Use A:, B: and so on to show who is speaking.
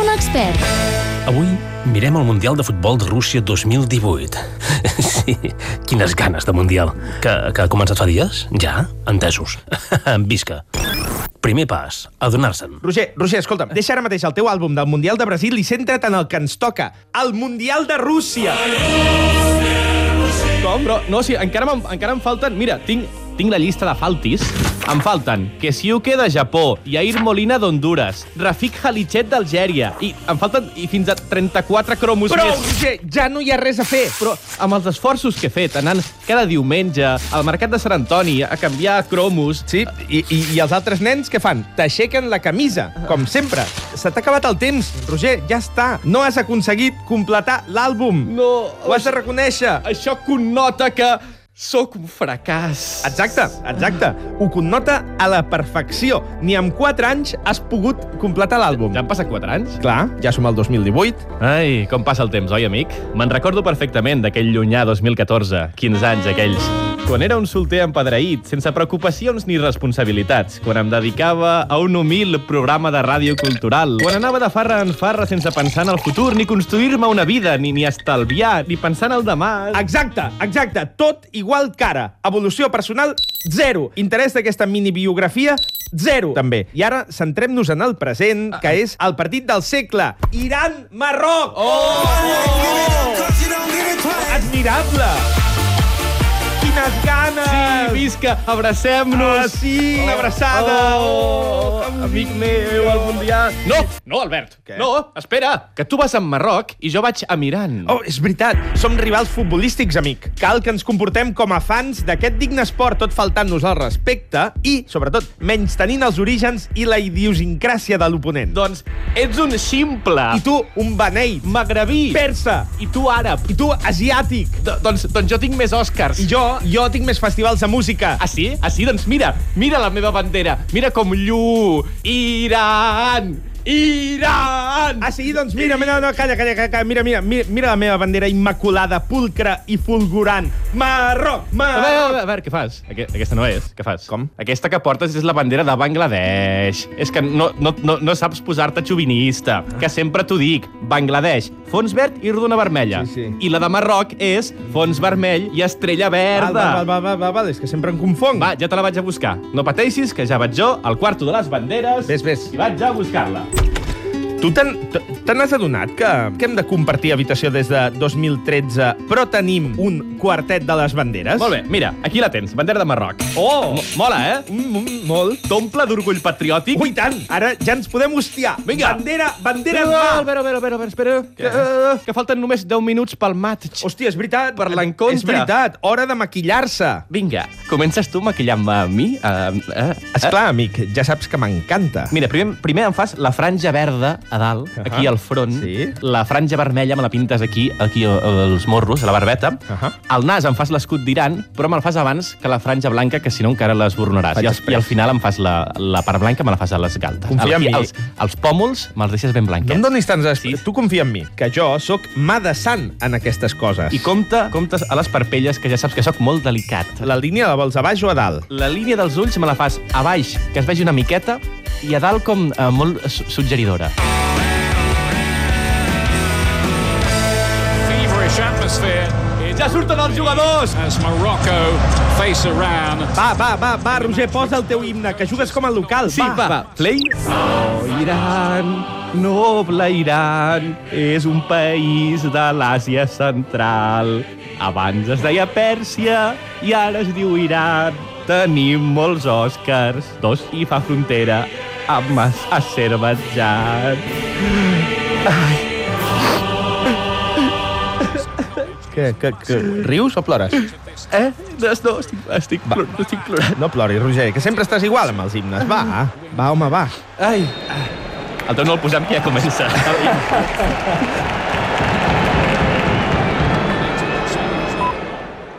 A: un expert.
B: Avui mirem el Mundial de Futbol de Rússia 2018. Sí, quines ganes de Mundial. Que, que ha començat fa dies? Ja? Entesos. Visca. Primer pas, adonar-se'n.
C: Roger, Roger, escolta'm, deixa ara mateix el teu àlbum del Mundial de Brasil i centra't en el que ens toca, el Mundial de Rússia.
D: Com? Però, no, sí, encara, em, encara em falten... Mira, tinc, tinc la llista de faltis. Em falten Kesiuke de Japó, Yair Molina d'Honduras, Rafik Halichet d'Algèria, i em falten i fins a 34 cromos
C: Però,
D: més.
C: Roger, ja no hi ha res a fer.
D: Però amb els esforços que he fet, anant cada diumenge al mercat de Sant Antoni a canviar cromos...
C: Sí, i, i, i els altres nens què fan? T'aixequen la camisa, com sempre. Se t'ha acabat el temps, Roger, ja està. No has aconseguit completar l'àlbum.
D: No,
C: Ho has de reconèixer.
D: Això connota que sóc un fracàs.
C: Exacte, exacte. Ho connota a la perfecció. Ni amb 4 anys has pogut completar l'àlbum.
D: Ja han passat 4 anys?
C: Clar, ja som al 2018.
D: Ai, com passa el temps, oi, amic? Me'n recordo perfectament d'aquell llunyà 2014, 15 anys aquells. Quan era un solter empadreït, sense preocupacions ni responsabilitats, quan em dedicava a un humil programa de ràdio cultural, quan anava de farra en farra sense pensar en el futur, ni construir-me una vida, ni, ni estalviar, ni pensar en el demà...
C: Exacte, exacte. Tot igual que ara. Evolució personal, zero. Interès d'aquesta minibiografia, zero, també. I ara centrem-nos en el present, que és el partit del segle. Iran-Marroc!
E: Oh!
C: Admirable! Quines ganes!
D: Sí, visca, abracem-nos!
C: Ah, sí, una abraçada.
D: Oh,
C: Oh,
D: amic meu, el mundial... No, no, Albert,
C: Què?
D: no, espera, que tu vas a Marroc i jo vaig a Miran.
C: Oh, és veritat, som rivals futbolístics, amic. Cal que ens comportem com a fans d'aquest digne esport, tot faltant-nos al respecte i, sobretot, menys tenint els orígens i la idiosincràsia de l'oponent.
D: Doncs ets un ximple.
C: I tu, un beneit,
D: magrebí.
C: persa,
D: I tu àrab.
C: i tu, asiàtic.
D: Do- doncs, doncs jo tinc més Oscars.
C: I jo, jo tinc més festivals de música.
D: Ah, sí? Ah, sí? Doncs mira, mira la meva bandera. Mira com llu... Iran! Iran!
C: Ah, sí? Doncs mira, mira, no, calla, calla, calla, calla. Mira, mira, mira, mira la meva bandera immaculada, pulcra i fulgurant. Marroc,
D: A veure, a
C: marroc.
D: veure, a veure, què fas? Aqu- Aquesta no és, què fas?
C: Com?
D: Aquesta que portes és la bandera de Bangladesh. És que no, no, no, no saps posar-te xovinista, que
C: Ah.
D: sempre t'ho dic. Bangladesh, fons verd i rodona vermella.
C: Sí, sí.
D: I la de Marroc és fons vermell i estrella verda.
C: Val, val, val, val, val, val, és que sempre em confong.
D: Va, ja te la vaig a buscar. No pateixis, que ja vaig jo al quarto de les banderes
C: Ves, ves.
D: i vaig a buscar-la.
C: Tu te'n- te te n'has adonat que, que hem de compartir habitació des de 2013, però tenim un quartet de les banderes?
D: Molt bé, mira, aquí la tens, bandera de Marroc.
C: Oh!
D: Mo- Mola, eh?
C: Mm, mm, molt.
D: T'omple d'orgull patriòtic.
C: Ui, i tant! Ara ja ens podem hostiar.
D: Vinga.
C: Bandera, bandera
D: Espera,
C: en
D: va,
C: mà!
D: espera, espera, espera, espera.
C: Eh,
D: Que, que falten només 10 minuts pel match.
C: Hòstia, és veritat.
D: Per l'encontre.
C: És veritat, hora de maquillar-se.
D: Vinga, comences tu maquillant-me a mi? Uh, uh,
C: Esclar, amic, ja saps que m'encanta.
D: Mira, primer, primer em fas la franja verda a dalt,
C: Ahà.
D: aquí al front.
C: Sí.
D: La franja vermella me la pintes aquí, aquí a- als morros, a la barbeta.
C: Ahà.
D: Al nas em fas l'escut d'Iran, però me'l fas abans que la franja blanca, que si no encara l'esborronaràs.
C: Vaig
D: I, al-
C: després.
D: I al final em fas la, la part blanca, me la fas a les galtes.
C: Confia en
D: Aquí
C: mi.
D: Els, els pòmuls me'ls deixes ben
C: No
D: blanquets.
C: em donis tants... Sí.
D: Sí.
C: Tu confia en mi, que jo sóc mà de sant en aquestes coses.
D: I compte, compte a les parpelles, que ja saps que sóc molt delicat. La,
C: La línia la vols a baix o a dalt?
D: la línia dels ulls me la fas a baix, que es vegi una miqueta, i a dalt com eh, molt su- suggeridora.
F: feverish atmosphere. It
D: Ja surten els jugadors!
F: as Morocco face Iran.
C: Va, va, va, va, Roger, posa el teu himne, que jugues com a local.
D: Sí, va, va. Play. Oh, Iran, noble Iran, és un país de l'Àsia central. Abans es deia Pèrsia i ara es diu Iran. Tenim molts Oscars, dos i fa frontera amb As- Azerbaidjan.
C: Que, que, que... Rius o plores?
D: Eh? No, no estic, estic, plor, estic plorant.
C: No ploris, Roger, que sempre estàs igual amb els himnes. Va, va, home, va.
D: Ai. El teu no el posem que ja comença.